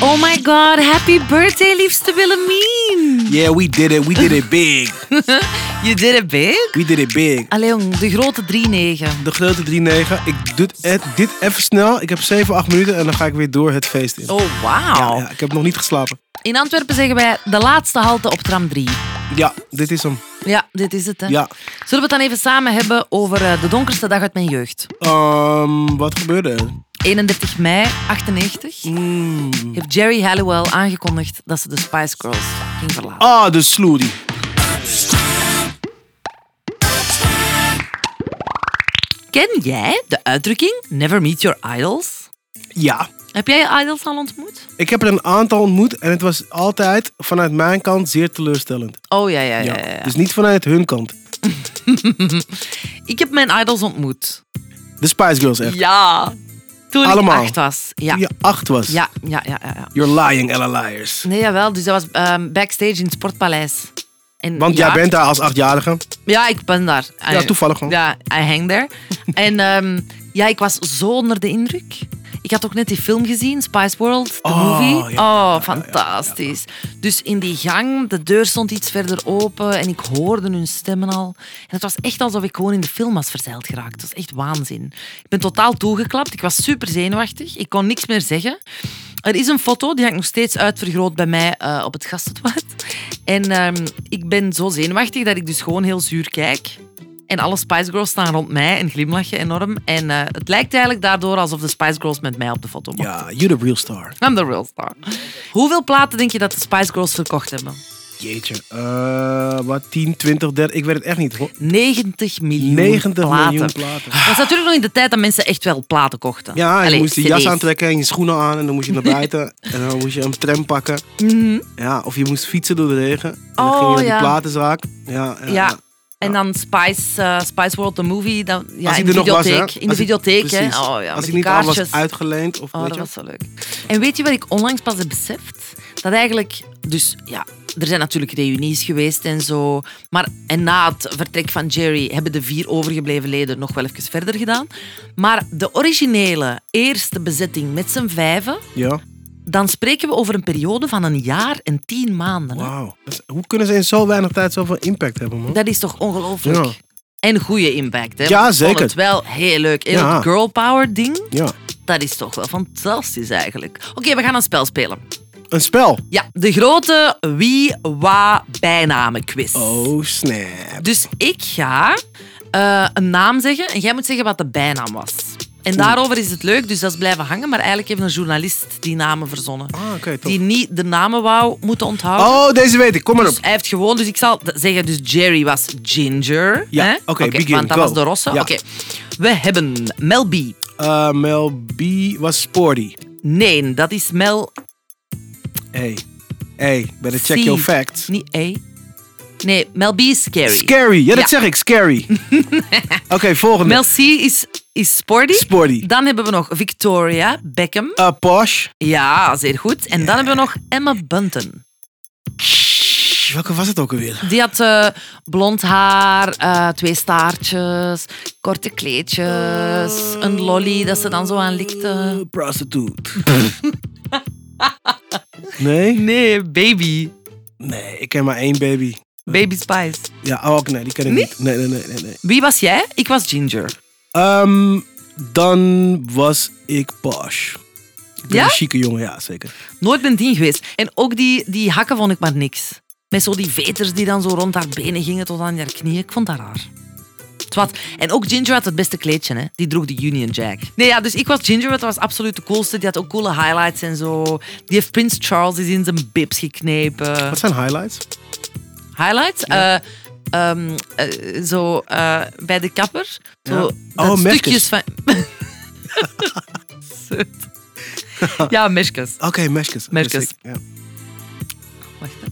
Oh my god, happy birthday, liefste Willemien. Yeah, we did it. We did it big. You did it big. We did it big. Allee jong, de grote 3-9. De grote 3-9. Ik doe het- dit even snel. Ik heb 7, 8 minuten en dan ga ik weer door het feest in. Oh wauw. Ja, ik heb nog niet geslapen. In Antwerpen zeggen wij de laatste halte op tram 3. Ja, dit is hem. Ja, dit is het hè. Ja. Zullen we het dan even samen hebben over eh, de donkerste dag uit mijn jeugd? Ehm, wat gebeurde er? 31 mei 98 Mm. heeft Jerry Halliwell aangekondigd dat ze de Spice Girls ging verlaten. Ah, de sloody. Ken jij de uitdrukking never meet your idols? Ja. Heb jij je idols al ontmoet? Ik heb er een aantal ontmoet en het was altijd vanuit mijn kant zeer teleurstellend. Oh ja, ja, ja. ja, ja. Dus niet vanuit hun kant. Ik heb mijn idols ontmoet. De Spice Girls echt. Ja. Toen Allemaal. ik acht was. Ja. Toen je acht was. Ja, ja, ja, ja. ja. You're lying, Ella Liars. Nee, jawel. Dus dat was ehm, backstage in het Sportpaleis. En Want ja, jij bent daar als achtjarige. Ja, ik ben daar. Ja, I- toevallig gewoon. Ja, I hang there. en ehm, ja, ik was zo onder de indruk. Ik had ook net die film gezien, Spice World, de Oh, ja, movie. ja, oh, fantastisch. Dus in die gang, de deur stond iets verder open en ik hoorde hun stemmen al. En het was echt alsof ik gewoon in de film was verzeild geraakt. Het was echt waanzin. Ik ben totaal toegeklapt. Ik was super zenuwachtig. Ik kon niks meer zeggen. Er is een foto, die heb ik nog steeds uitvergroot bij mij eh, op het gastentoilet. En ehm, ik ben zo zenuwachtig dat ik dus gewoon heel zuur kijk. En alle Spice Girls staan rond mij en glimlachen enorm. En eh, het lijkt eigenlijk daardoor alsof de Spice Girls met mij op de foto mochten. Ja, you're the real star. I'm the real star. Hoeveel platen denk je dat de Spice Girls verkocht hebben? Jeetje. Eh, wat, 10, 20, 30, ik weet het echt niet. hoor. 90 miljoen 90 platen. miljoen platen. Dat is natuurlijk nog in de tijd dat mensen echt wel platen kochten. Ja, en Allee, je moest je jas CD's. aantrekken en je schoenen aan en dan moest je naar buiten. en dan moest je een tram pakken. Mhm. Ja, of je moest fietsen door de regen. En dan Oh, ging je naar ja. die platenzaak. Ja, ja, Ja. ja. En dan Spice, eh, Spice World, the movie. Dan, ja, Als in hij de er nog was, videotheek. in hè? de Als hij- videotheek, hè. precies. Oh, ja, met Als hij die niet al was kaartjes. uitgeleend of Oh, dat weet je. was zo leuk. En weet je wat ik onlangs pas heb beseft? Dat eigenlijk, dus ja, er zijn natuurlijk reunies geweest en zo. Maar en na het vertrek van Jerry hebben de vier overgebleven leden nog wel even verder gedaan. Maar de originele eerste bezetting met z'n vijven, Ja, dan spreken we over een periode van een jaar en tien maanden. hè. wauw. Dat is- Hoe kunnen ze in zo weinig tijd zoveel impact hebben, man? Dat is toch ongelooflijk? Ja. En goede impact, hè? Ja, Want ik vond zeker. het wel heel leuk. Heel Ja. het girl power ding, Ja. dat is toch wel fantastisch eigenlijk. Oké, we gaan een spel spelen. Een spel. Ja, de grote wie, wa, bijnamen quiz. Oh, snap. Dus ik ga eh, een naam zeggen en jij moet zeggen wat de bijnaam was. En daarover is het leuk, dus dat is blijven hangen. Maar eigenlijk heeft een journalist die namen verzonnen. Ah, oké, tof. die niet de namen wou moeten onthouden. Oh, deze weet ik. Kom maar op. Dus hij heeft gewoon, dus ik zal d- zeggen, dus Jerry was Ginger. Ja, hè? oké, begin, Want dat go. was de rosse. Ja. Oké, we hebben Mel B. Eh, Mel B was sporty. Nee, dat is Mel Hey. Hey, better check C. your facts. Niet A. Nee, Mel B is scary. Scary. Ja, dat Ja. zeg ik. Scary. Oké, volgende. Mel C is, is sporty. sporty. Dan hebben we nog Victoria Beckham. Eh, posh. Ja, zeer goed. En dan hebben we nog Emma Bunton. Shh, Welke was het ook alweer? Die had eh, blond haar, eh, twee staartjes, korte kleedjes, een lolly dat ze dan zo aan likte. Eh, prostitute. nee? Nee, baby. Nee, ik ken maar één baby. Baby Spice. Ja, oh, ook nee, die ken ik Niet? niet. Nee, nee, nee, nee. nee. Wie was jij? Ik was Ginger. Ehm, dan was ik posh. Ik ben Ja? een chique jongen, ja, zeker. Nooit ben dien geweest. En ook die, die hakken vond ik maar niks. Met zo die veters die dan zo rond haar benen gingen tot aan haar knieën. Ik vond dat raar. Twat. En ook Ginger had het beste kleedje, hè. Die droeg de Union Jack. Nee, ja, dus ik was Ginger, want dat was absoluut de coolste. Die had ook coole highlights en zo. Die heeft Prins Charles is in zijn bibs geknepen. Wat zijn highlights? Highlights? Eh, ehm, eh, zo eh, bij de kapper. Zo, Ja. dat Oh, stukjes van... Zut. ja, mesjes. Oké, mesjes. Oké, Mesjes. sick, Ja. Wacht. hè.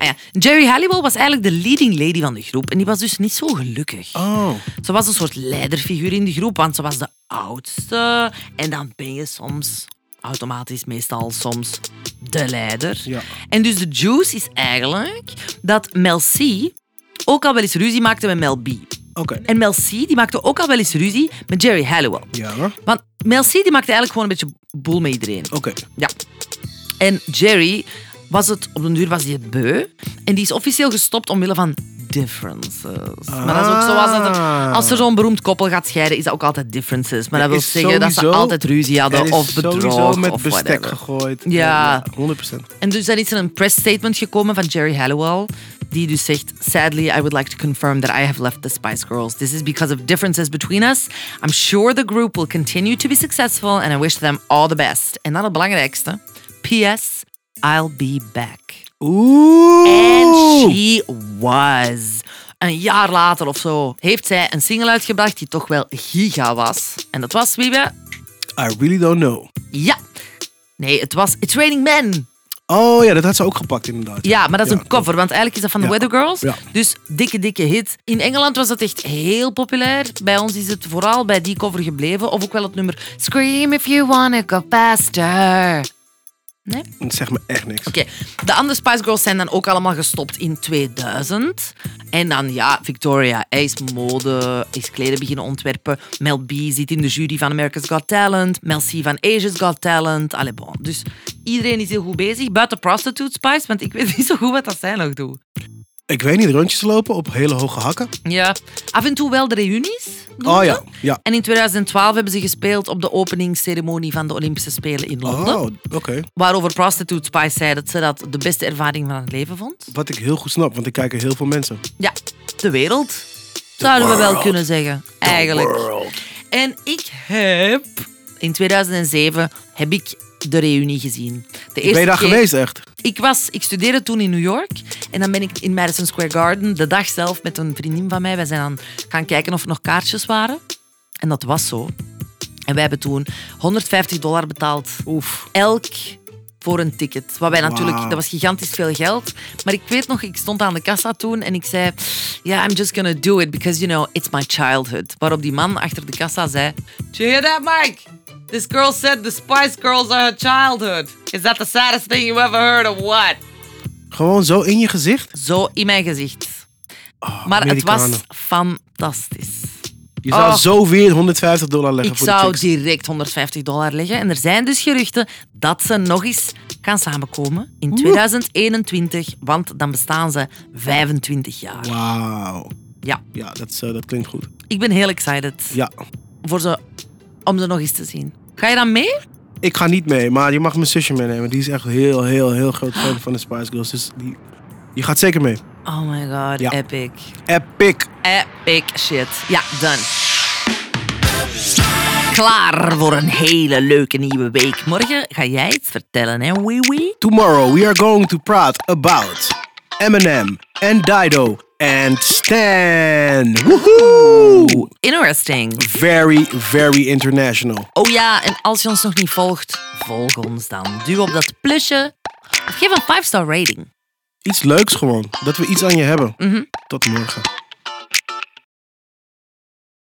Ah ja, Jerry Halliwell was eigenlijk de leading lady van de groep en die was dus niet zo gelukkig. Oh. Ze was een soort leiderfiguur in de groep, want ze was de oudste. En dan ben je soms, automatisch meestal soms, de leider. Ja. En dus de juice is eigenlijk dat Mel C ook al wel eens ruzie maakte met Mel B. Oké. En Mel C die maakte ook al wel eens ruzie met Jerry Halliwell. Ja, hoor. Want Mel C die maakte eigenlijk gewoon een beetje boel met iedereen. Oké. Ja. En Jerry was het, op den duur was hij het beu. En die is officieel gestopt omwille van differences. Maar dat is ook zoals dat er, Ah. als er zo'n beroemd koppel gaat scheiden, is dat ook altijd differences. Maar dat Er wil is zeggen dat ze sowieso- altijd ruzie Er hadden is of Sowieso bedroog met of bestek whatever. gegooid. Ja. 100%. En dus dan is er een press statement gekomen van Jerry Halliwell. Die dus zegt, sadly, I would like to confirm that I have left the Spice Girls. This is because of differences between us. I'm sure the group will continue to be successful and I wish them all the best. En dan het belangrijkste. P.S. I'll be back. Oeh. And she was. Een jaar later of zo heeft zij een single uitgebracht die toch wel giga was. En dat was, wie we? I really don't know. Ja. Nee, het was It's Raining Men. Oh ja, dat had ze ook gepakt inderdaad. Ja, maar dat is Ja, een cover, want eigenlijk is dat van de Ja. Weather Girls. Ja. Dus dikke, dikke hit. In Engeland was dat echt heel populair. Bij ons is het vooral bij die cover gebleven. Of ook wel het nummer Scream if you wanna go faster. Nee? Dat zegt me echt niks. Oké, de andere Spice Girls zijn dan ook allemaal gestopt in 2000. En dan, ja, Victoria hij is mode, is kleden beginnen ontwerpen. Mel B zit in de jury van America's Got Talent. Mel C van Asia's Got Talent. Allee, bon. Dus iedereen is heel goed bezig, buiten Prostitute Spice, want ik weet niet zo goed wat dat zij nog doen. Ik weet niet, rondjes lopen op hele hoge hakken. Ja, af en toe wel de reunies. doen Oh ze. ja, ja. En in 2012 hebben ze gespeeld op de openingsceremonie van de Olympische Spelen in Londen. Oh, oké. Waarover Prostitute Spice zei dat ze dat de beste ervaring van het leven vond. Wat ik heel goed snap, want ik kijk er heel veel mensen. Ja, de wereld. Zouden we wel world. kunnen zeggen, eigenlijk. En ik heb... In 2007 heb ik de reunie gezien. De Ben je daar keer- geweest echt? Ik, was, ik studeerde toen in New York. En dan ben ik in Madison Square Garden, de dag zelf, met een vriendin van mij. Wij zijn aan gaan kijken of er nog kaartjes waren. En dat was zo. En wij hebben toen 150 dollar betaald. Oef. Elk voor een ticket. Wat wij natuurlijk, Wauw. dat was gigantisch veel geld. Maar ik weet nog, ik stond aan de kassa toen en ik zei: Yeah, I'm just gonna do it because you know, it's my childhood. Waarop die man achter de kassa zei: Did you hear that, Mike? This girl said the Spice Girls are her childhood. Is that the saddest thing you ever heard of what? Gewoon zo in je gezicht? Zo in mijn gezicht. maar het was Ah, Amerikanen. fantastisch. Je zou Oh. zo weer 150 dollar leggen Ik voor die zou chicks. direct 150 dollar leggen. En er zijn dus geruchten dat ze nog eens gaan samenkomen in 2021. Want dan bestaan ze 25 jaar. Wauw. Ja, Ja, dat, is, eh, dat klinkt goed. ik ben heel excited Ja. voor ze, om ze nog eens te zien. Ga je dan mee? Ik ga niet mee, maar je mag mijn zusje meenemen. Die is echt heel, heel, heel groot fan van de Spice Girls. Dus die, je gaat zeker mee. Oh my god, Ja. epic. Epic. Epic shit. Ja, done. Klaar voor een hele leuke nieuwe week. Morgen ga jij iets vertellen, hè, wee wee? Tomorrow we are going to praat about Eminem en Dido en Stan. Woehoe! Interesting. Very, very international. Oh ja, en als je ons nog niet volgt, volg ons dan. Duw op dat plusje. Of geef een 5-star rating. Iets leuks gewoon. Dat we iets aan je hebben. Tot morgen.